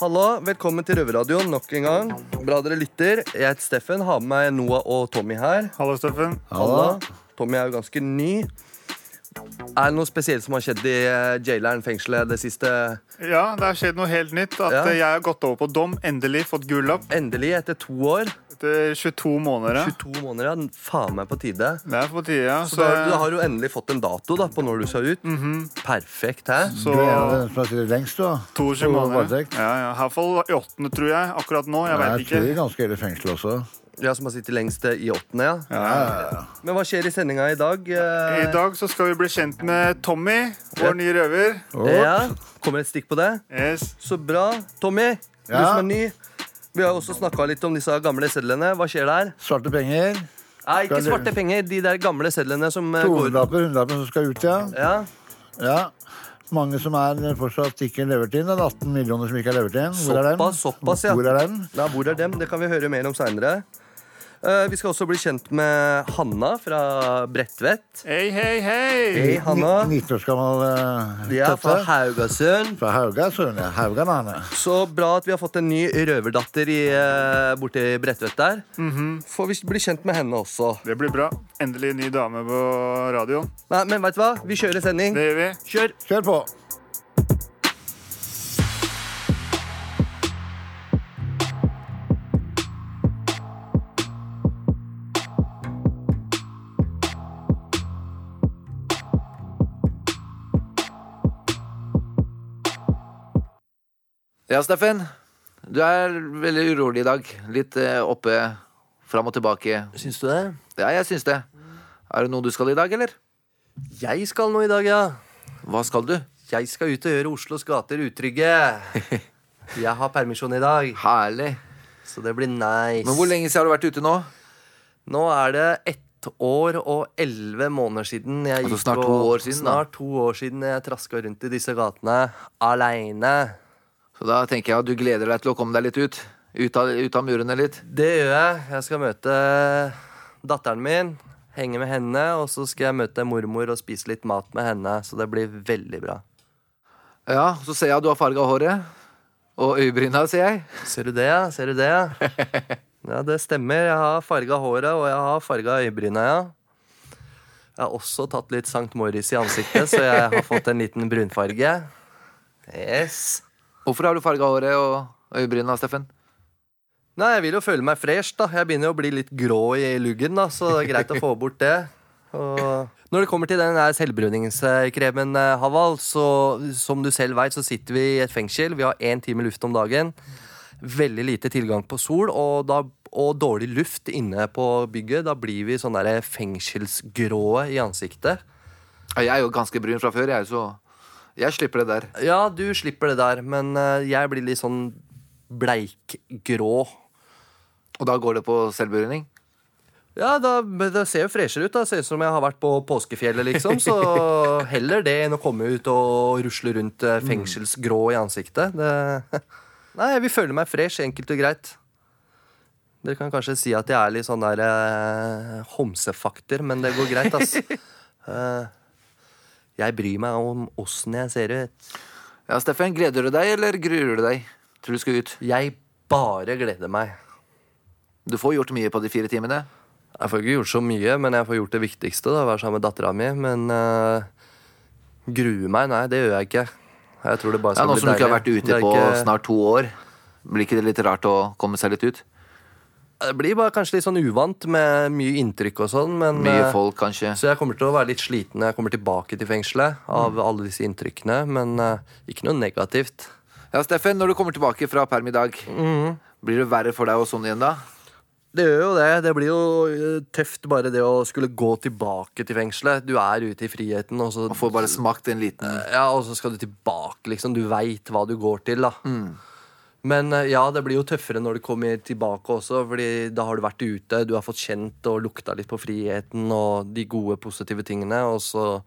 Hallo, velkommen til Røverradioen nok en gang. Bra dere lytter. Jeg heter Steffen, har med meg Noah og Tommy her. Hallo, Steffen. Halla. Tommy er jo ganske ny. Er det noe spesielt som har skjedd i eh, jaileren, fengselet, det siste? Ja, det har skjedd noe helt nytt. At Ja. eh, jeg har gått over på dom. Endelig fått gullapp Endelig, etter to år. etter 22 måneder. 22 måneder, ja. Faen meg på tide. Det er på tide. ja. Så Mhm. Så, da, du har jo endelig fått en dato da, på når du skal ut. Perfekt, hæ? så Du er jo den som har sittet lengst, da. 22 Og måneder. voldtekt. Ja, ja. I hvert fall i åttende, tror jeg. Akkurat nå. Jeg Jeg veit tror det er ikke. ganske hele fengselet også. Ja, som har sittet lengst eh, i åttende, ja. Ja, Men hva skjer i sendinga i dag? eh? I dag så skal vi bli kjent med Tommy, vår nye røver. Eh, Ja, kommer et stikk på det? Yes. Så bra. Tommy, du Ja? som er ny. Vi har jo også snakka litt om disse gamle sedlene. Hva skjer der? Svarte penger. Nei, ikke Skal du- svarte penger. De der gamle sedlene som eh, går 200-lapper, 100-lapper som skal ut, ja. Ja, ja. Mange som er fortsatt ikke levert inn. Det er 18 millioner som ikke er levert inn. Hvor er den? Såpass, såpass, ja. Hvor er den? Nei, hvor er dem? Det kan vi høre mer om seinere. vi skal også bli kjent med Hanna fra Bredtvet. Hei, hei, hei! Hei, Hanna. 19 år gammel uh, De er fra Haugasund. Fra Hauga, søren. ja. Haugan er han. Så bra at vi har fått en ny røverdatter i, eh, borte i Bredtvet der. Får vi bli kjent med henne også. Det blir bra. Endelig ny dame på radioen. Nei, men veit du hva? Vi kjører sending. Det gjør vi. Kjør! Kjør på. Ja, Steffen. Du er veldig urolig i dag. Litt eh, oppe, fram og tilbake. Syns du det? Ja, jeg syns det. Er det noe du skal i dag, eller? Jeg skal nå i dag, ja. Hva skal du? Jeg skal ut og gjøre Oslos gater utrygge. Jeg har permisjon i dag, Herlig. så det blir nice. Men hvor lenge siden har du vært ute nå? Nå er det ett år og elleve måneder siden jeg Altså gikk snart og- to år siden, da. Snart to år siden jeg traska rundt i disse gatene aleine. Så da tenker jeg at du gleder deg til å komme deg litt ut. Ut av, ut av murene litt. Det gjør jeg. Jeg skal møte datteren min, henge med henne, og så skal jeg møte mormor og spise litt mat med henne, så det blir veldig bra. Ja, så ser jeg at du har farga håret. Og øyebryna, ser jeg. Ser du det, ja? Ser du det, ja? Ja, det stemmer. Jeg har farga håret, og jeg har farga øyebryna, ja. Jeg har også tatt litt St. Morris i ansiktet, så jeg har fått en liten brunfarge. Yes. Hvorfor har du farga håret og øyebryna, Steffen? Nei, jeg vil jo føle meg fresh, da. Jeg begynner jo å bli litt grå i luggen, da, så det er greit å få bort det. Og når det kommer til den her selvbruningskremen, eh, Haval, så som du selv veit, så sitter vi i et fengsel. Vi har én time luft om dagen. Veldig lite tilgang på sol, og, da, og dårlig luft inne på bygget. Da blir vi sånn derre fengselsgråe i ansiktet. Ja, Jeg er jo ganske brun fra før, jeg, så jeg slipper det der. Ja, du slipper det der, men eh, jeg blir litt sånn bleikgrå. Og da går det på selvbruning? Ja, da, men Det ser jo freshere ut. da Ser ut som jeg har vært på påskefjellet, liksom. Så heller det enn å komme ut og rusle rundt eh, fengselsgrå i ansiktet. Det... Nei, jeg vil føle meg fresh, enkelt og greit. Dere kan kanskje si at jeg er litt sånn der eh, homsefakter, men det går greit, ass. Eh, jeg bryr meg om åssen jeg ser ut. Ja, Steffen, gleder du deg, eller gruer du deg? Tror du skal ut? Jeg bare gleder meg. Du får gjort mye på de fire timene. Jeg får ikke gjort så mye, men jeg får gjort det viktigste. da, Være sammen med dattera mi. Men eh, grue meg? Nei, det gjør jeg ikke. Jeg tror det bare Ja, skal nå bli som du deilig. ikke har vært Det ute er på ikke- snart to år, blir ikke det litt rart å komme seg litt ut? Det blir bare kanskje litt sånn uvant med mye inntrykk og sånn. Men, Mye eh, folk, kanskje. Så jeg kommer til å være litt sliten når jeg kommer tilbake til fengselet av Mm. alle disse inntrykkene. Men eh, ikke noe negativt. Ja, Steffen, når du kommer tilbake fra perm i dag, Mhm. blir det verre for deg og sånn igjen da? Det gjør jo det. Det blir jo eh, tøft bare det å skulle gå tilbake til fengselet. Du er ute i friheten, og så Og får bare smakt en liten Ja, og så skal du tilbake, liksom. Du veit hva du går til, da. Men eh, ja, det blir jo tøffere når du kommer tilbake også, Fordi da har du vært ute, du har fått kjent og lukta litt på friheten og de gode, positive tingene, og så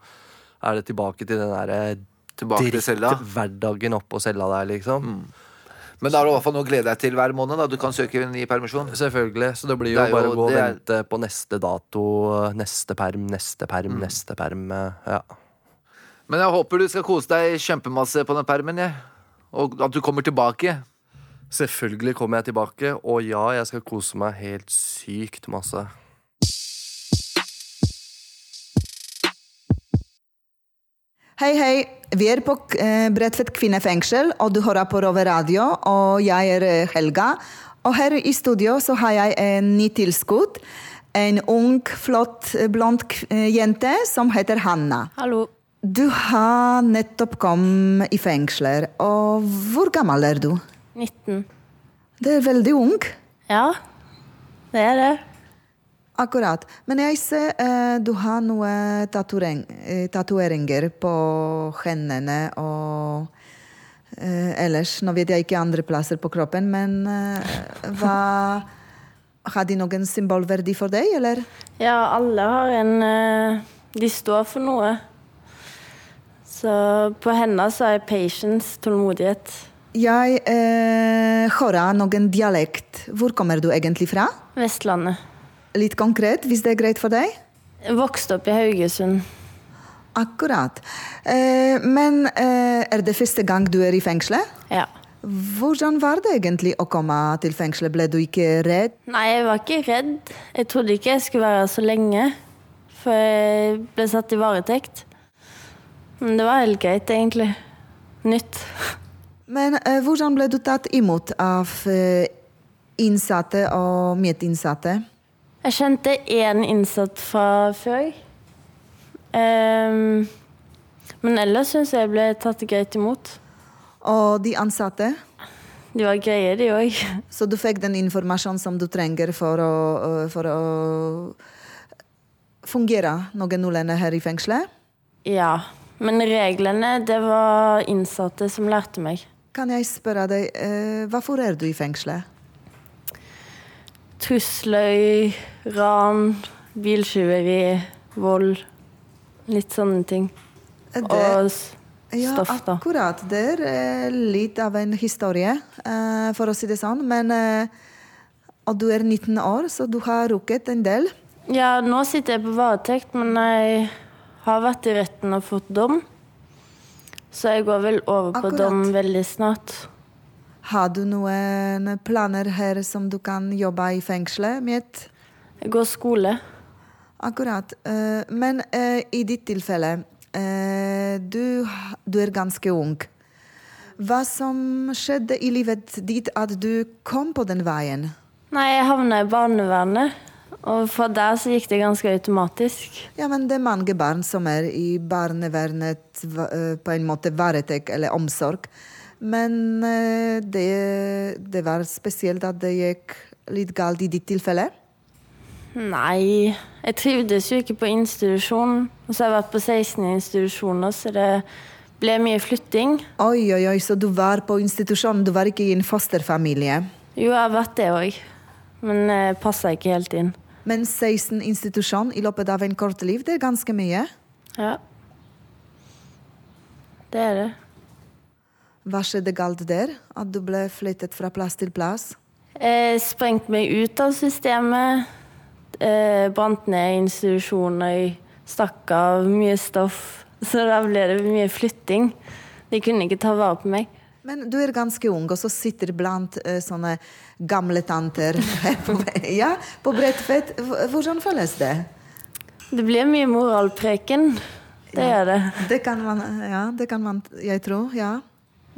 er det tilbake til den derre tilbake til cella. hverdagen oppå cella der, liksom. Men da har du i hvert fall noe å glede deg til hver måned, da. Du kan søke en ny permisjon. Selvfølgelig. Så det blir jo, Det er jo- bare å gå og det er- vente på neste dato, neste perm, neste perm, neste perm. eh, Ja. Men jeg håper du skal kose deg kjempemasse på den permen, jeg. Og at du kommer tilbake. Selvfølgelig kommer jeg tilbake, og ja, jeg skal kose meg helt sykt masse. Hei, hei. Vi er på eh, Bredtvet kvinnefengsel, og du hører på Rover Radio. Og jeg er eh, Helga. Og her i studio så har jeg en ny tilskudd. En ung, flott, eh, blond kv- eh, jente som heter Hanna. Hallo. Du har nettopp kommet i fengsler, og hvor gammel er du? 19. Det er veldig ung. Ja, det er det. Akkurat. Men jeg ser eh, du har noen e, tatoveringer på hendene og eh, ellers. Nå vet jeg ikke andre plasser på kroppen, men eh, hva Har de noen symbolverdi for deg, eller? Ja, alle har en eh, De står for noe. Så på henne så er patience tålmodighet. Jeg eh, hører noen dialekt. Hvor kommer du egentlig fra? Vestlandet. Litt konkret, hvis det er greit for deg? Jeg Vokste opp i Haugesund. Akkurat. Eh, men eh, er det første gang du er i fengselet? Ja. Hvordan var det egentlig å komme til fengselet? Ble du ikke redd? Nei, jeg var ikke redd. Jeg trodde ikke jeg skulle være her så lenge. For jeg ble satt i varetekt. Men det var helt greit, egentlig. Nytt. Men eh, hvordan ble du tatt imot av eh, innsatte og medinnsatte? Jeg kjente én innsatt fra før. Ehm, men ellers syns jeg jeg ble tatt greit imot. Og de ansatte? De var greie, de òg. Så du fikk den informasjonen som du trenger for å, eh, for å fungere noenlunde her i fengselet? Ja. Men reglene, det var innsatte som lærte meg. Kan jeg spørre deg, eh, hvorfor er du i fengselet? Trusler, ran, biltyveri, vold. Litt sånne ting. Det- Og s- Ja, stoff, da. akkurat. Det er eh, litt av en historie, eh, for å si det sånn. Men eh, Og du er 19 år, så du har rukket en del. Ja, nå sitter jeg på varetekt, men jeg har vært i retten og fått dom. Så jeg går vel over på Akkurat. dom veldig snart. Har du noen planer her som du kan jobbe i fengselet med? Jeg går skole. Akkurat. Eh, men eh, i ditt tilfelle eh, du, ha- du er ganske ung. Hva som skjedde i livet ditt at du kom på den veien? Nei, jeg havna i barnevernet, og fra der så gikk det ganske automatisk. Ja, men det er mange barn som er i barnevernet va- eh, på en måte varetekt eller omsorg. Men eh, det, det var spesielt at det gikk litt galt i ditt tilfelle. Nei, jeg trivdes jo ikke på institusjon. Og så har jeg vært på 16 institusjoner, så det ble mye flytting. Oi, oi, oi, så du var på institusjon, du var ikke i en fosterfamilie. Jo, jeg har vært det òg, men jeg passa ikke helt inn. Men 16 institusjon i løpet av en kort liv, det er ganske mye. Ja. Det er det. Hva skjedde galt der? At du ble flyttet fra plass til plass? Jeg sprengte Eh, meg ut av systemet. Eh, brant ned institusjoner, stakk av mye stoff. Så da ble det mye flytting. De kunne ikke ta vare på meg. Men du er ganske ung, og så sitter blant eh, sånne gamle tanter her på, ja, på Bredtvet. H- Hvordan føles det? Det ble mye moralpreken. Det gjør det. Det kan man, ja, det kan man jeg tror. Ja.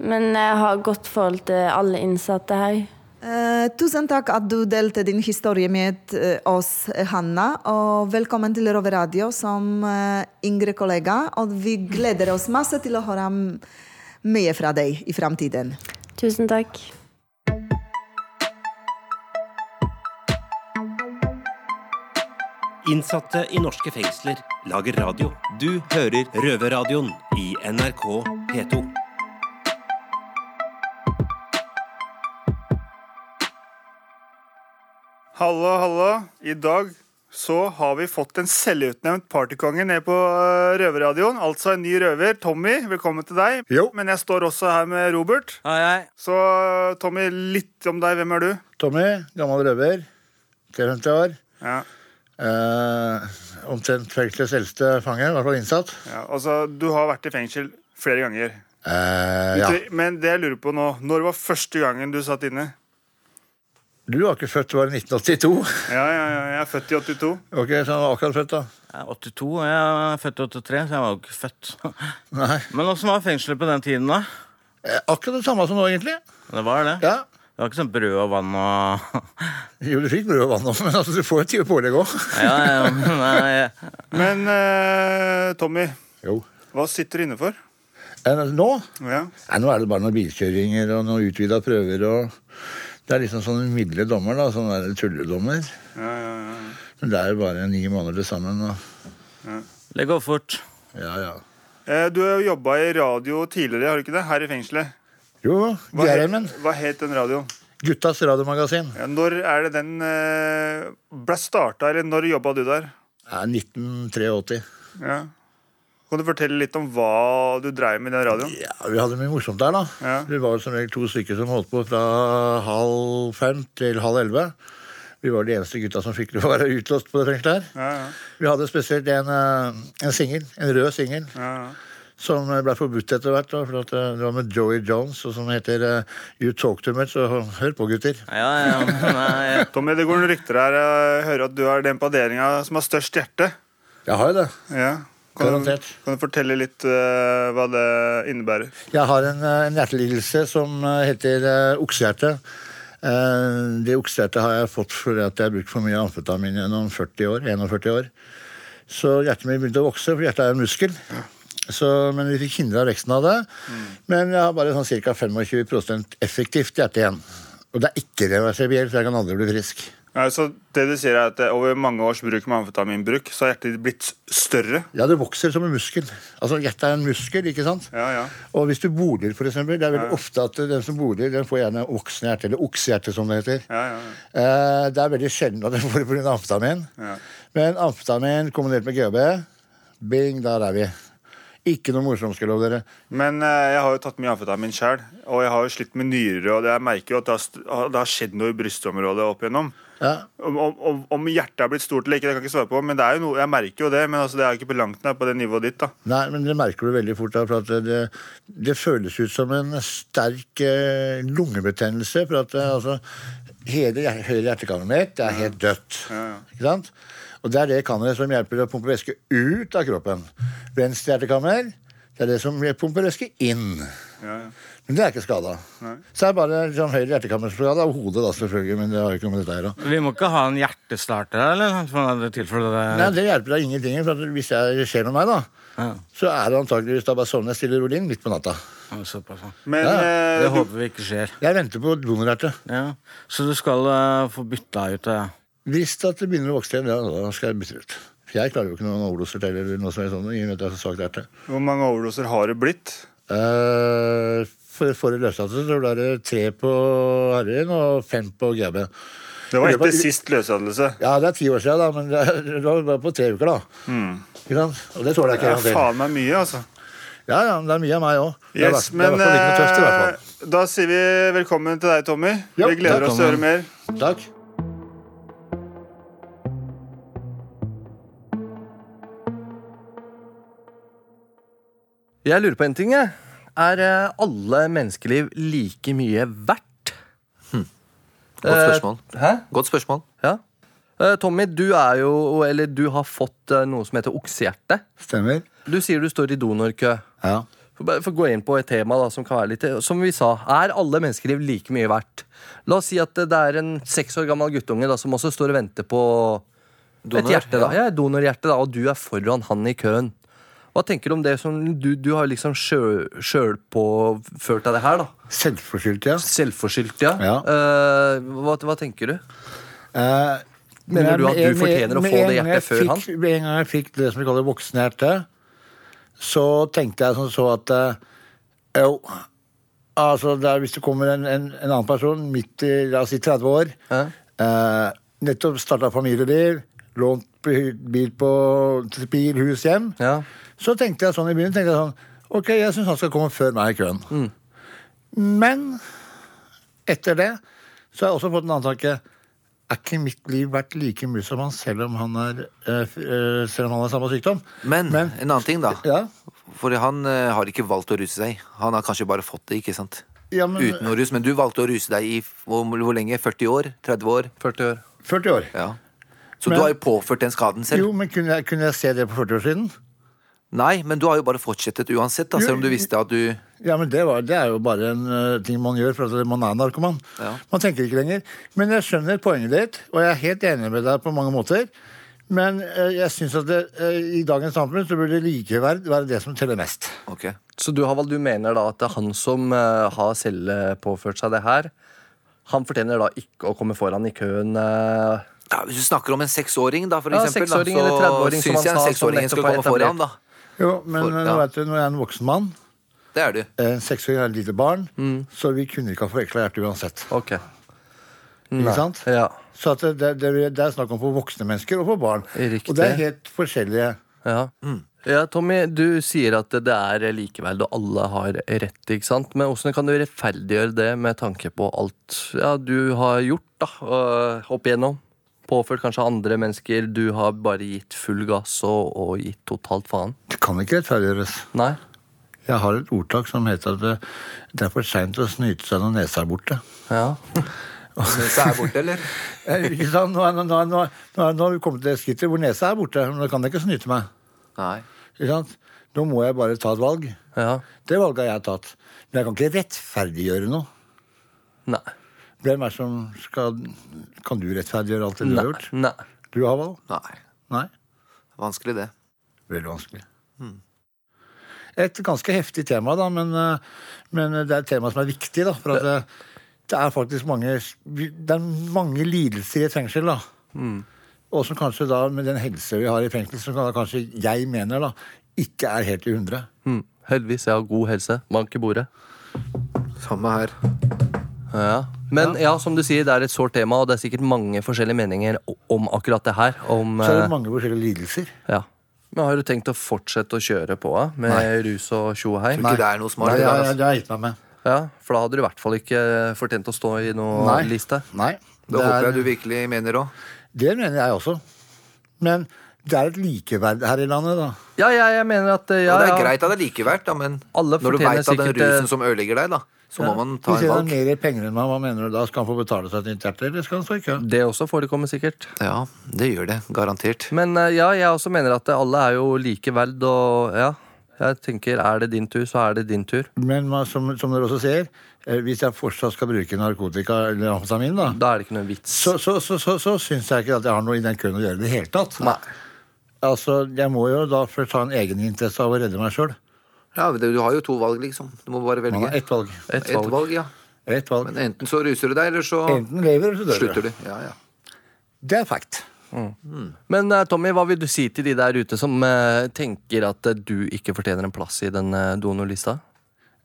Men jeg har godt forhold til alle innsatte her. Eh, tusen takk at du delte din historie med eh, oss, Hanna. Og velkommen til Rover Radio som eh, yngre kollega. Og vi gleder oss masse til å høre m- mye fra deg i framtiden. Tusen takk. Innsatte i norske fengsler lager radio. Du hører Røverradioen i NRK P2. Hallo, hallo. I dag så har vi fått en selvutnevnt partykonge ned på eh, røverradioen. Altså en ny røver. Tommy, velkommen til deg. Jo. Men jeg står også her med Robert. Hei, hei. Så eh, Tommy, litt om deg. Hvem er du? Tommy, gammel røver. 53 år. Ja. Eh, omtrent fengselets eldste fange, i hvert fall innsatt. ja. Altså, du har vært i fengsel flere ganger. Eh, ja. Det- Men det jeg lurer på nå, når var første gangen du satt inne? Du var ikke født, du var i 1982. Ja, ja, ja, jeg er født i 82. Ok, så han var akkurat født, da. Jeg er 82, og jeg er født i 83, så jeg var jo ikke født. Nei. Men åssen var fengselet på den tiden, da? Eh, Akkurat det samme som nå, egentlig. Det var det. Ja. Det var ikke sånn brød og vann og Jo, du fikk brød og vann, også, men altså, du får jo ti pålegg òg. Ja, ja, men, nei, Men eh, Tommy, Jo. hva sitter du inne for? Eh, Nå? Ja. Nei, nå er det bare noen bilkjøringer og noen utvida prøver og Det er liksom sånn midle dommer, da. Sånn der tulledommer. Ja, ja, ja. Men det er jo bare ni måneder til sammen. Og... Det går fort. Ja, ja. Eh, Du har jobba i radio tidligere, har du ikke det? Her i fengselet. Jo, GRM-en. het, hva het den radioen? Guttas radiomagasin. Ja, når er det den eh, ble starta, eller når jobba du der? Det er 1983. Ja. Kan du fortelle litt om hva du dreiv med i den radioen? Ja, Vi hadde mye morsomt der, da. Ja. Vi var som regel to stykker som holdt på fra halv fem til halv elleve. Vi var de eneste gutta som fikk lov å være utlåst på det fengselet her. Ja, ja. Vi hadde spesielt en, eh, en singel, en rød singel, ja, ja. som ble forbudt etter hvert. da, For at eh, det var med Joey Jones, og som heter eh, You Talk Too Much. Så hør på, gutter. Ja, ja, men, nei. Tommy, det går noen rykter her. Jeg hører at du er den på avdelinga som har størst hjerte. Jeg har jo det. Ja. Kan, du, Garantert. kan du fortelle litt eh, hva det innebærer? Jeg har en, eh, en hjertelidelse som eh, heter eh, oksehjerte. Eh, Det oksehjertet har jeg fått fordi at jeg har brukt for mye amfetamin gjennom 40 år, 41 år. Så hjertet mitt begynte å vokse, for hjertet er en muskel. Så, men vi fikk hindra veksten av det. Men jeg har bare sånn ca. 25 effektivt hjerte igjen. Og det er ikke reversibelt, så jeg kan aldri bli frisk. Ja, så det du sier er at eh, Over mange års bruk med amfetaminbruk så har hjertet ditt blitt s- større? Ja, det vokser som en muskel. Altså, Hjertet er en muskel, ikke sant? Ja, ja. Og hvis du boler, for eksempel, det er veldig ofte at den som boler, den får gjerne voksne hjerte, eller oksehjerte, som det heter. Ja, ja, Eh, Det er veldig sjelden at den får det pga. amfetamin. Ja. Men amfetamin kombinert med GB, bing, der er vi. Ikke noe morsomt, skal jeg love dere. Men eh, jeg har jo tatt mye amfetamin sjøl, og jeg har jo slitt med nyrer. Og det jeg merker jo at det har, st- det har skjedd noe i brystområdet opp igjennom. Ja. Om, om- om, om hjertet er blitt stort eller ikke, det kan jeg ikke svare på, men det er jo noe, jeg merker jo det. Men altså, det er jo ikke på langt nær på det nivået ditt. da. Nei, men det merker du veldig fort. da, For at det, det føles ut som en sterk eh, lungebetennelse. For at eh, altså, hele hjer- høyre hjertekammeret mitt det er helt dødt. Ikke sant? Og det er det kammeret som hjelper å pumpe væske ut av kroppen. Venstre hjertekammer det er det som pumper væske inn. Men det er ikke skada. Så det er bare liksom, høyre hjertekammerskade av hodet, da, selvfølgelig. Men det har jo ikke noe med dette her å Vi må ikke ha en hjertestarter her, eller? For det er tilfelle Nei, det Det hjelper deg ingenting. For at hvis det skjer med meg, da, Ja. så er det antakeligvis da bare sovner jeg stille og rolig inn midt på natta. Ja, Såpass, ja. Men Ja, eh, Det du, håper vi ikke skjer. Jeg venter på donorhjerte. Ja. Så du skal eh, få bytta ut det? Hvis det, at det begynner å vokse igjen, ja, da skal jeg bytte det ut. For jeg klarer jo ikke noen overdoser til, eller noe som er sånn, i og med at jeg har så svakt hjerte. hvor mange overdoser har det blitt? Eh, for for løslatte så ble det tre på heroin og fem på GB. Det var Det var- etter sist løslatelse. Ja, det er ti år siden, da, men det, er- det var bare på tre uker, da. Ikke sant? Og det tåler jeg Det ikke. er garantert. Mm. faen meg mye, altså. Ja, ja, men det er mye av meg òg. det er i Yes, hvert- det er i men hvert fall ikke noe tøft, i hvert fall. eh, da sier vi velkommen til deg, Tommy. Ja, vi gleder takk, oss til å høre Tommy. mer. Takk. Jeg lurer på en ting, jeg. Er eh, alle menneskeliv like mye verdt? Hm. Godt spørsmål. Eh, Hæ? Godt spørsmål. Ja. Eh, Tommy, du er jo Eller du har fått eh, noe som heter oksehjerte. Stemmer. Du sier du står i donorkø. Ja. For bare- for å gå inn på et tema da, som kan være litt Som vi sa, er alle menneskeliv like mye verdt? La oss si at det er en seks år gammel guttunge da, som også står og venter på et Donor, hjerte. da, ja, et donorhjerte, da, og du er foran han i køen. Hva tenker du om det som Du, du har liksom sjøl- sjølpåført deg det her, da. Selvforskyldt, ja. Selvforskyldt, ja. Ja. Eh, hva, hva tenker du? Eh, Mener men du at med- du fortjener å med- få det med en gang jeg hjertet før fikk, Med en gang jeg fikk det som vi kaller voksenhjerte, så tenkte jeg som så at eh, jo, altså det er, hvis det kommer en, en, en annen person midt i la oss si 30 år, Ja. eh, nettopp starta familieliv, lånt by- bil på bil, hus, hjem, Ja. så tenkte jeg sånn i begynnelsen tenkte jeg sånn, Ok, jeg syns han skal komme før meg i køen. Mm. Men etter det så har jeg også fått en annen tanke. Er ikke mitt liv verdt like mye som han, selv om han er, eh, f- eh, selv om han har samme sykdom? Men, Men- en annen ting, da. Ja. For han eh, har ikke valgt å ruse seg. Han har kanskje bare fått det, ikke sant? Ja, men- Uten noe rus. Men du valgte å ruse deg i f- hvor, hvor lenge? 40 år? 30 år? 40 år. 40 år. Ja. Så Men- du har jo påført den skaden selv. Jo, men kunne jeg, kunne jeg se det på 40 år siden? Nei, men du har jo bare fortsettet uansett, da, selv om du visste at du Ja, men det, var, det er jo bare en eh, ting man gjør for at man er narkoman. Ja. Man tenker ikke lenger. Men jeg skjønner poenget ditt, og jeg er helt enig med deg på mange måter. Men eh, jeg syns at det, eh, i dagens samfunn så burde likeverd være det som teller mest. Ok. Så du, Havald, du mener da at det er han som eh, har selv eh, påført seg det her, han fortjener da ikke å komme foran i køen eh, Ja, hvis du snakker om en seksåring, da, for Ja, eksempel, da, seksåring eller så 30-åring, som syns han jeg en sa, som seksåringen nettopp skal er komme foran, da. etablert. Jo, men For- eh, nå ja. vet du, når jeg er en voksen mann, Eh, Det er du. en seksåring er et lite barn, Mm. så vi kunne ikke ha forveksla hjertet uansett. Ok. Mm. Ikke sant? Ja. Så at det, det, det er snakk om for voksne mennesker og for barn. Riktig. Og det er helt forskjellige Ja. Mm. ja, Tommy, du sier at det er likeverd og alle har rett, ikke sant? Men hvordan kan du rettferdiggjøre det med tanke på alt ja, du har gjort da, øh, opp igjennom? Påført kanskje andre mennesker, du har bare gitt full gass og, og gitt totalt faen. Det kan ikke rettferdiggjøres. Nei? Jeg har et ordtak som heter at det, det er for seint å snyte seg når nesa er borte. Ja. Nesa er borte, eller? Eh, Ikke sant? Nå er, nå, nå, nå, nå er- nå har vi kommet til det skrittet hvor nesa er borte, men da kan jeg ikke snyte meg. Nei. Ikke sant? Nå må jeg bare ta et valg. ja. Det valget har jeg tatt. Men jeg kan ikke rettferdiggjøre noe. Nei. Hvem er det som skal Kan du rettferdiggjøre alt det du har gjort? Nei. Nei. Du har valg? Nei. Nei? Vanskelig, det. Veldig vanskelig. Hmm. Et ganske heftig tema, da, men, eh, men det er et tema som er viktig. da, for at eh, Det er faktisk mange det er mange lidelser i et fengsel. da, Hmm. Og som kanskje da, med den helse vi har i fengsel, som da kanskje jeg mener da, ikke er helt i hundre. Hm. Heldigvis, jeg har god helse. Bank i bordet. Samme her. Ja. Men ja, som du sier, det er et sårt tema, og det er sikkert mange forskjellige meninger o- om akkurat det her. Om, Så er eh, det mange forskjellige lidelser. Ja. Men har du tenkt å fortsette å kjøre på eh, med rus og tjo og hei? Tror ikke det er noe smart. Nei, i det ja, ja, der, altså. det har jeg gitt meg med. Ja, for da hadde du i hvert fall ikke fortjent å stå i noen Nei. liste. Nei. Det håper jeg er, du virkelig mener òg. det mener jeg også. Men det er et likeverd her i landet, da. Ja, ja, jeg mener at eh, ja, og det er ja. greit at det er likeverd, da, men Alle når du fortjener veit at den sikkert, eh, rusen som ødelegger deg, da, så må man ta Hvis en jeg har valg. mer penger enn meg, hva mener du da? Skal han få betale seg et nytt hjerte, eller skal han stå i kø? Det også forekommer sikkert. Ja, det gjør det. Garantert. Men eh, ja, jeg også mener at eh, alle er jo like verd, og ja. Jeg tenker, er det din tur, så er det din tur. Men man- som, som dere også ser, eh, hvis jeg fortsatt skal bruke narkotika eller amfetamin, da, Da er det ikke noe vits. så, så, så, så, så syns jeg ikke at jeg har noe i den køen å gjøre i det hele tatt. Altså, Jeg må jo da først ha en egeninteresse av å redde meg sjøl. Ja, men det- Du har jo to valg, liksom. Du må bare Man har velge. ett valg. Et Ett valg. valg, ja. Ett valg. Men enten så ruser du deg, eller så Enten lever eller så dør slutter du. Ja, ja. Det er fact. Men eh, Tommy, hva vil du si til de der ute som eh, tenker at eh, du ikke fortjener en plass i den eh, donorlista?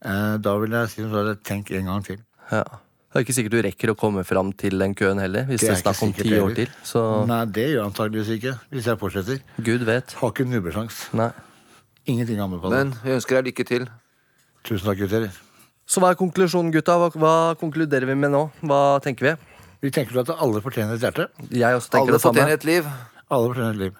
Eh, Da vil jeg si som så, tenk en gang til. Ja. Det er ikke sikkert du rekker å komme fram til den køen heller, hvis det er er snakk ikke om sikkert ti år heller. Mm. til. Så Nei, det gjør jeg antageligvis ikke, hvis jeg fortsetter. gud vet. Har ikke nubbesjans. Nei. Ingenting å anbefale. Men vi ønsker deg lykke til. Tusen takk, gutter. Så hva er konklusjonen, gutta? Hva, hva konkluderer vi med nå? Hva tenker vi? Vi tenker at alle fortjener et hjerte. Jeg også tenker Alle det samme. fortjener et liv. Alle fortjener et liv.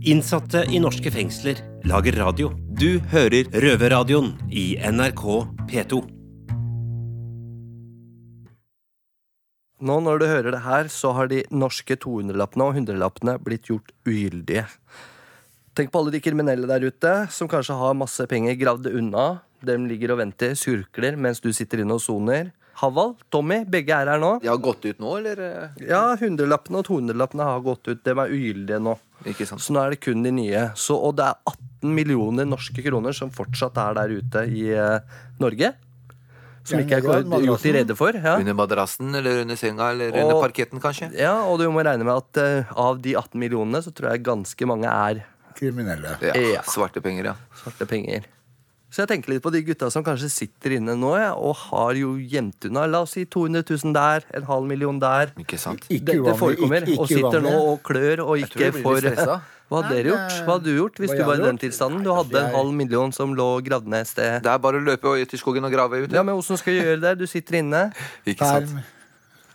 Innsatte i norske fengsler lager radio. Du hører Røverradioen i NRK P2. Nå når du hører det her, så har de norske 200-lappene og 100-lappene blitt gjort ugyldige. Tenk på alle de kriminelle der ute som kanskje har masse penger gravd unna. De ligger og venter, surkler, mens du sitter inne og soner. Haval, Tommy, begge er her nå. De har gått ut nå, eller? eh, Ja, 100-lappene og 200-lappene har gått ut. De er ugyldige nå. Ikke sant. Så nå er det kun de nye. Så, og det er 18 millioner norske kroner som fortsatt er der ute i eh, Norge. Som Ja, ikke er Norge er kor- gjort madrassen. de rede for. Ja. Under madrassen, eller under senga, eller under Og- parketten, kanskje? ja, Og du må regne med at eh, av de 18 millionene, så tror jeg ganske mange er Kriminelle. Ja, Ja. Svarte penger, ja. svarte penger. Så jeg tenker litt på de gutta som kanskje sitter inne nå ja, og har jo gjemt unna. La oss si 200 000 der, en halv million der. Ikke sant? Ikke Dette uvanlig, forekommer. ikke- ikke Og sitter nå uvanlig. og klør og tror ikke jeg blir får litt stressa. Hva hadde dere gjort? Hva hadde du gjort hvis Hva du jeg var i hadde den gjort? tilstanden? Nei, Du hadde en jeg- halv million som lå gravd ned et sted. Det er bare å løpe ut i skogen og grave ut. Ja, men hvordan skal du gjøre det? Du sitter inne. Ikke sant?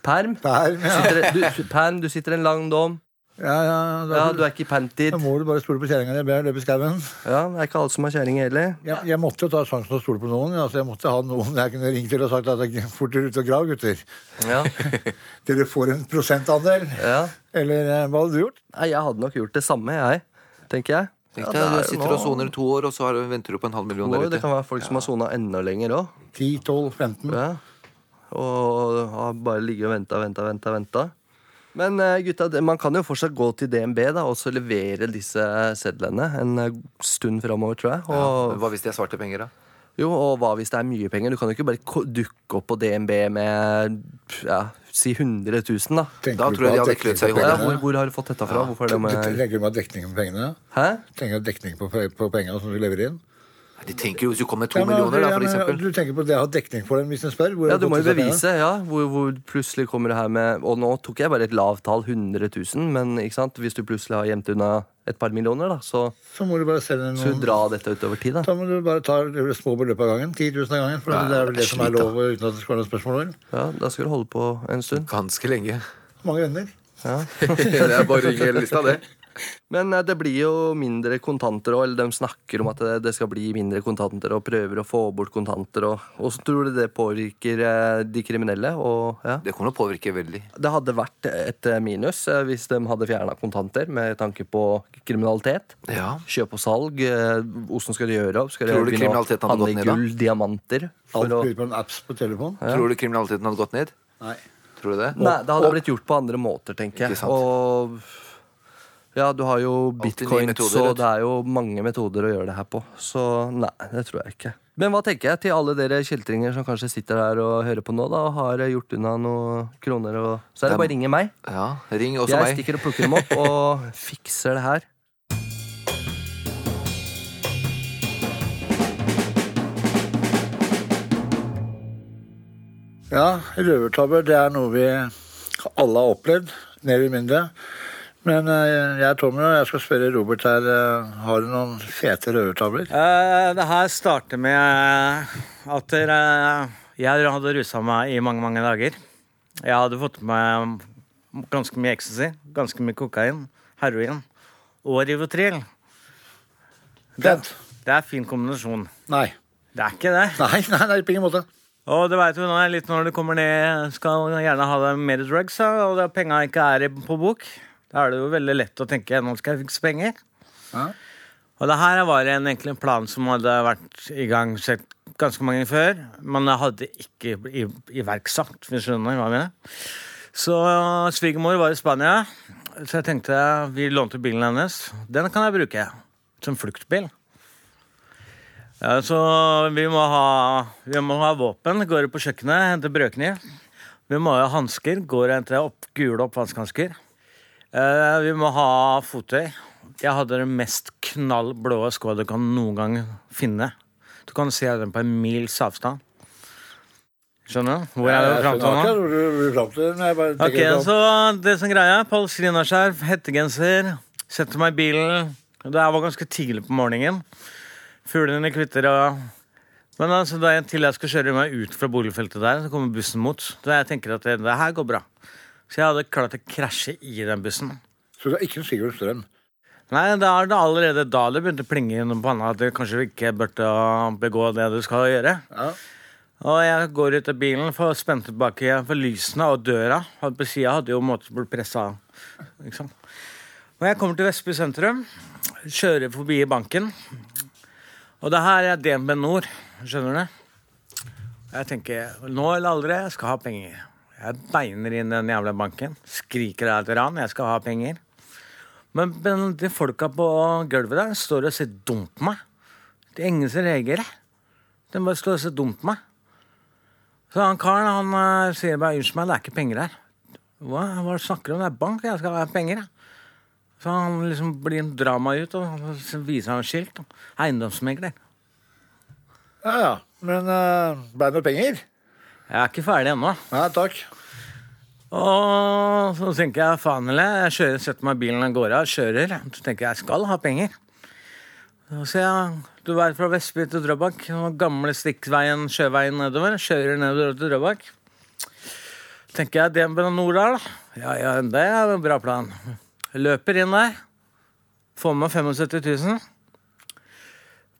Perm. Perm? Perm, ja. Sitter, du, perm, du sitter i en lang dom. Ja, ja, da, Ja, du er ikke panted. da må du bare stole på kjerringa di. Løpe i skauen. Ja, det er ikke alle som har kjerring heller. Jeg, jeg måtte jo ta sjansen og stole på noen. Altså, jeg måtte ha noen jeg kunne ringt til og sagt at jeg fort dere ut og grav, gutter. Ja. Dere får en prosentandel. Ja. Eller eh, hva hadde du gjort? Nei, jeg hadde nok gjort det samme, jeg. Tenker jeg. Tenk Ja, deg, det er du jo sitter og soner i to år, og så har du, venter du på en halv million Oi, der det ute. kan være folk som har sona enda lenger òg. 10, 12, 15. Ja. Og har bare ligget og venta, venta, venta, venta. Men eh, gutta, det- man kan jo fortsatt gå til DNB da, og så levere disse sedlene en eh, stund framover, tror jeg. Men Og, Hva hvis de er svarte penger, da? jo, og hva hvis det er mye penger? Du kan jo ikke bare ko- dukke opp på DNB med ja, si 100 000, da. Tenker Da du på tror jeg de at hadde dekning klødd seg i på Ja, hodet. hvor, pengene? hvor har du fått dette fra? Hvorfor er det med Tenker du på dekning på pengene? Hæ? Tenker du dekning på, pe- på pengene som du leverer inn? De tenker jo hvis du kommer med to Ja, men- millioner, da, ja, for men eksempel. Du tenker på det å ha dekning for dem hvis en spør? Hvor Ja, har du fått må jo disse pengene? bevise, ja. Hvor, hvor plutselig kommer det her med Og nå tok jeg bare et lavt tall, 100 000, men ikke sant? hvis du plutselig har gjemt unna et par millioner, da, så Så må du bare selge skal du noen dra dette utover tid, da. Da må du bare ta små beløp av gangen. 10 000 av gangen. For det er vel det som er lov uten at det skal være noe spørsmål. vel? Ja, da skal du holde på en stund. Ganske lenge. Hvor mange venner? det er bare å ringe hele lista, det. Men eh, det blir jo mindre kontanter òg, eller de snakker om at det, det skal bli mindre kontanter, og prøver å få bort kontanter, og åssen tror du det påvirker eh, de kriminelle? Og, ja. Det kommer til å påvirke veldig. Det hadde vært et minus eh, hvis de hadde fjerna kontanter med tanke på kriminalitet. Ja. Kjøp og salg. eh, Hvordan skal de gjøre opp? Skal de Tror du begynne å kriminaliteten hadde gått handle ned da? Gull, diamanter. Alt For å... blir på en apps på telefon? Tror du kriminaliteten hadde gått ned? Nei. Tror du det? Nei, det hadde blitt gjort på andre måter, tenker Ikke jeg. sant. Og ja, du har jo Alltid nye bitcoin, metoder, så vet du. det er jo mange metoder å gjøre det her på. Så nei, det tror jeg ikke. Men hva tenker jeg til alle dere kjeltringer som kanskje sitter der og hører på nå, da, og har eh, gjort unna noen kroner, og så er det bare å ringe meg. Ja, ring også Jeg meg. stikker og plukker dem opp og fikser det her. Ja, røvertabber det er noe vi alle har opplevd, mer eller mindre. Men eh, jeg er Tommy, og jeg skal spørre Robert her. eh, Har du noen fete røvertabber? Eh, det her starter med eh, at eh, jeg hadde rusa meg i mange, mange dager. Jeg hadde fått med meg ganske mye ecstasy, ganske mye kokain, heroin og Rivotril. Fett? Det er fin kombinasjon. Nei. Det er ikke det. Nei, nei, nei, på ingen måte. Og du veit jo nå, litt når du kommer ned, skal gjerne ha deg mer drugs, ja, og da penga ikke er i- på bok, da er det jo veldig lett å tenke nå skal jeg fikse penger. Ja. Og det her var en, egentlig en plan som hadde vært i gang sett ganske mange ganger før, men jeg hadde ikke i- iverksatt, hvis du skjønner hva jeg mener. Så eh, svigermor var i Spania, så jeg tenkte vi lånte bilen hennes. Den kan jeg bruke som fluktbil. Ja, så vi må ha, vi må ha våpen. Går du på kjøkkenet, henter brødkniv. Vi må ha hansker. Går og henter opp, gule oppvaskhansker. Eh, vi må ha fottøy. Jeg hadde den mest knallblå skoa du kan noen gang finne. Du kan se den på en mils avstand. Skjønner du? Hvor er det Jeg fram skjønner til nå? akkurat hvor du- hvor du fram til. men jeg bare Ok, altså. tenker så det som greia er Palestinaskjerf, hettegenser Setter meg i bilen Det her var ganske tidlig på morgenen Fuglene kvitter og Men altså, da jeg, til jeg skal kjøre meg ut fra boligfeltet der Så kommer bussen mot Så jeg tenker at det, det her går bra Så jeg hadde klart å krasje i den bussen Så det er ikke en Sigurd Strøm? Nei, det er det allerede da det begynte å plinge gjennom panna At du kanskje ikke burde begå det du skal gjøre Ja. og jeg går ut av bilen for å spenne tilbake igjen for lysene og døra. Og På sida hadde jo måttet bli pressa av. ikke sant? Og jeg kommer til Vestby sentrum, kjører forbi banken. Og det her er DNB Nord, skjønner du? Jeg tenker nå eller aldri, jeg skal ha penger. Jeg beiner inn den jævla banken, skriker av et ran, jeg skal ha penger. Men, men de folka på gulvet der står og sier 'dump meg'. Det er ingen som reagerer. De bare står og sier 'dump meg'. Så han karen han eh, sier bare 'unnskyld meg, det er ikke penger her'. Hva, hva snakker du om? Det er bank, jeg skal ha penger. jeg». Så han liksom blir drar meg ut og så viser han skilt. da. Eiendomsmegler. Ja, ja. Men uh, ble det noe penger? Jeg er ikke ferdig ennå. Nei, takk. Og så tenker jeg faen eller jeg kjører, setter meg i bilen av gårde og kjører. Så tenker jeg jeg skal ha penger. Og Så jeg, du vet fra Vestby til Drøbak, og gamle stikkveien, sjøveien nedover. Kjører nedover til Drøbak. tenker jeg DNB Norddal. Ja, ja, det er en bra plan. Jeg løper inn der, får med meg 75 000.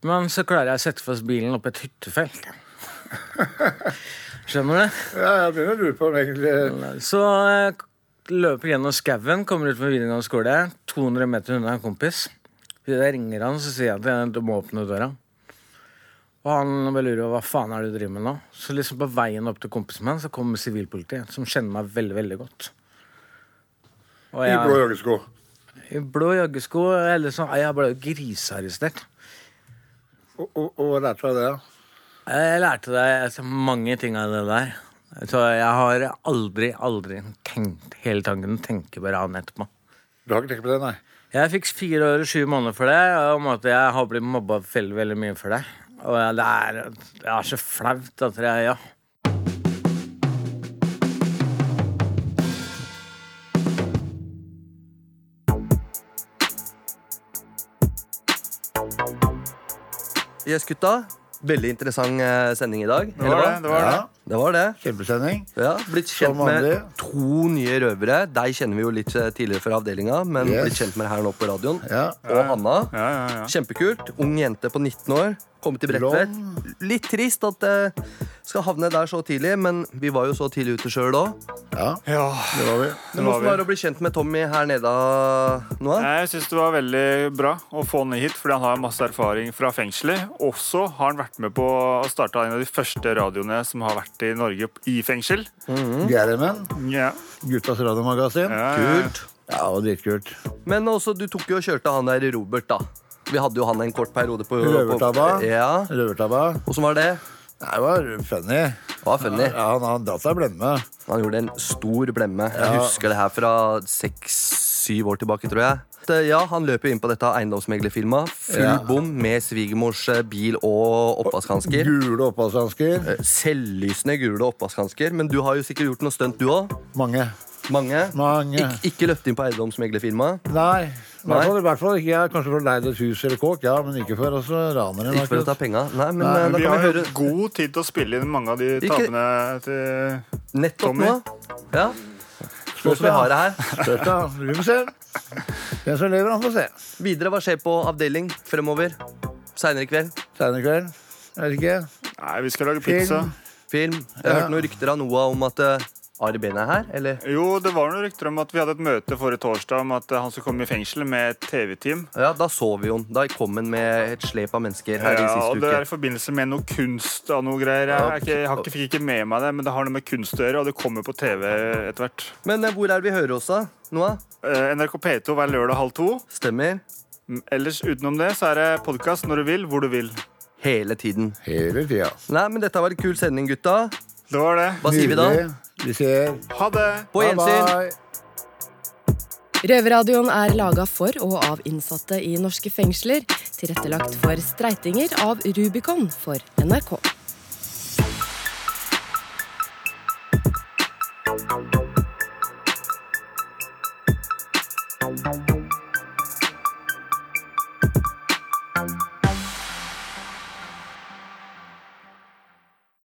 Men så klarer jeg å sette fast bilen opp i et hyttefelt. Skjønner du? Ja, jeg begynner å lure på om egentlig Så jeg løper gjennom skauen, kommer ut på videregående skole, 200 meter unna en kompis. Jeg ringer han, så sier jeg at jeg- du må åpne døra. Og han bare lurer på hva faen er det du driver med nå. Så liksom på veien opp til kompisen min så kommer sivilpolitiet, som kjenner meg veldig, veldig godt. Og I jeg- blå joggesko. i blå joggesko. Eller sånn, jeg ble jo grisearrestert. Og, og, og hva lærte du av det? da? Jeg lærte deg altså, mange ting av det der. Så jeg har aldri, aldri tenkt hele tanken tenke på ran etterpå. Du har ikke tenkt på det, nei? Jeg fikk fire år og sju måneder for det, og om at jeg har blitt mobba veldig, veldig mye for det. Og jeg- det er, det er så flaut at jeg Ja. Yes, gutta. Veldig interessant eh, sending i dag. Det var det. det, var det. Det var det. Kjempesending. Ja, Blitt kjent Som med vanlig. to nye røvere. Deg kjenner vi jo litt eh, tidligere fra avdelinga, men Yes. blitt kjent med her nå på radioen. Ja. Og Hanna. Ja, ja, ja. Kjempekult. Ung jente på 19 år. Kommet til Bredtvet. Litt trist at det skal havne der så tidlig, men vi var jo så tidlig ute sjøl òg. ja, ja. det var Men var vi. åssen vi. var det å bli kjent med Tommy her nede nå? Nei, Jeg syns det var veldig bra å få han hit, fordi han har masse erfaring fra fengselet. Også har han vært med på å starte en av de første radioene som har vært i Norge i fengsel. Mm. Mm. Gjerrimen. Ja. Guttas radiomagasin. Ja, ja, ja. Kult. Ja, og dritkult. Men også, du tok jo og kjørte han der Robert, da. Vi hadde jo han en kort periode på Røvertabba. på- Ja. Røvertabba. Åssen var det? Nei, det var funny. Det var funny. Ja, han har dratt seg blemme. Han gjorde en stor blemme. Jeg husker det her fra seks-syv år tilbake, tror jeg. Det- Ja, Han løper jo inn på dette eiendomsmeglerfirmaet. Full Ja. bom med svigermors eh, bil og oppvaskhansker. Gule Eh. oppholdshansker. Selvlysende gule oppvaskhansker. Men du har jo sikkert gjort noe stunt, du òg. Mange. Mange. Mange. Ik ikke løpt inn på eiendomsmeglerfirmaet. Nei. I Nei. hvert fall, i hvert fall ikke jeg. Kanskje for å leie et hus eller kåk, ja, men ikke for oss ranere. Ikke for å ta akkurat. penga. Nei, men Nei, eh, da Vi kan har vi jo høre god tid til å spille inn mange av de Ikke- tabene til nettopp Tommy. nå. Ja. Nå som vi har det her. Støtt, da. Vi får se. Den som lever, han får se. Videre, hva skjer på avdeling fremover? Seinere i kveld? Seinere i kveld. Jeg vet ikke. Nei, vi skal lage Film. pizza. Film? Jeg har hørt noen rykter av Noah om at eh, Ari Behn er her, eller? Jo, det var noen rykter om at vi hadde et møte forrige torsdag om at han skulle komme i fengsel med et TV-team. Ja, da så vi jo den. Da kom han med et slep av mennesker her i Ja, Eh, og siste det uke. er i forbindelse med noe kunst og noe greier. Jeg, er ikke, jeg har ikke, fikk ikke med meg det, men det har noe med kunst å gjøre, og det kommer på TV etter hvert. Men eh, hvor er det vi hører oss, da? Noah? Eh, NRK P2 hver lørdag halv to. Stemmer. Mm, Ellers utenom det så er det podkast når du vil, hvor du vil. Hele tiden. Hele tida. Nei, men dette var en kul sending, gutta. Det var det. Hva sier vi da? Nydelig. Vi ser. Ha det! På gjensyn. Røverradioen er laga for og av innsatte i norske fengsler. Tilrettelagt for streitinger av Rubicon for NRK.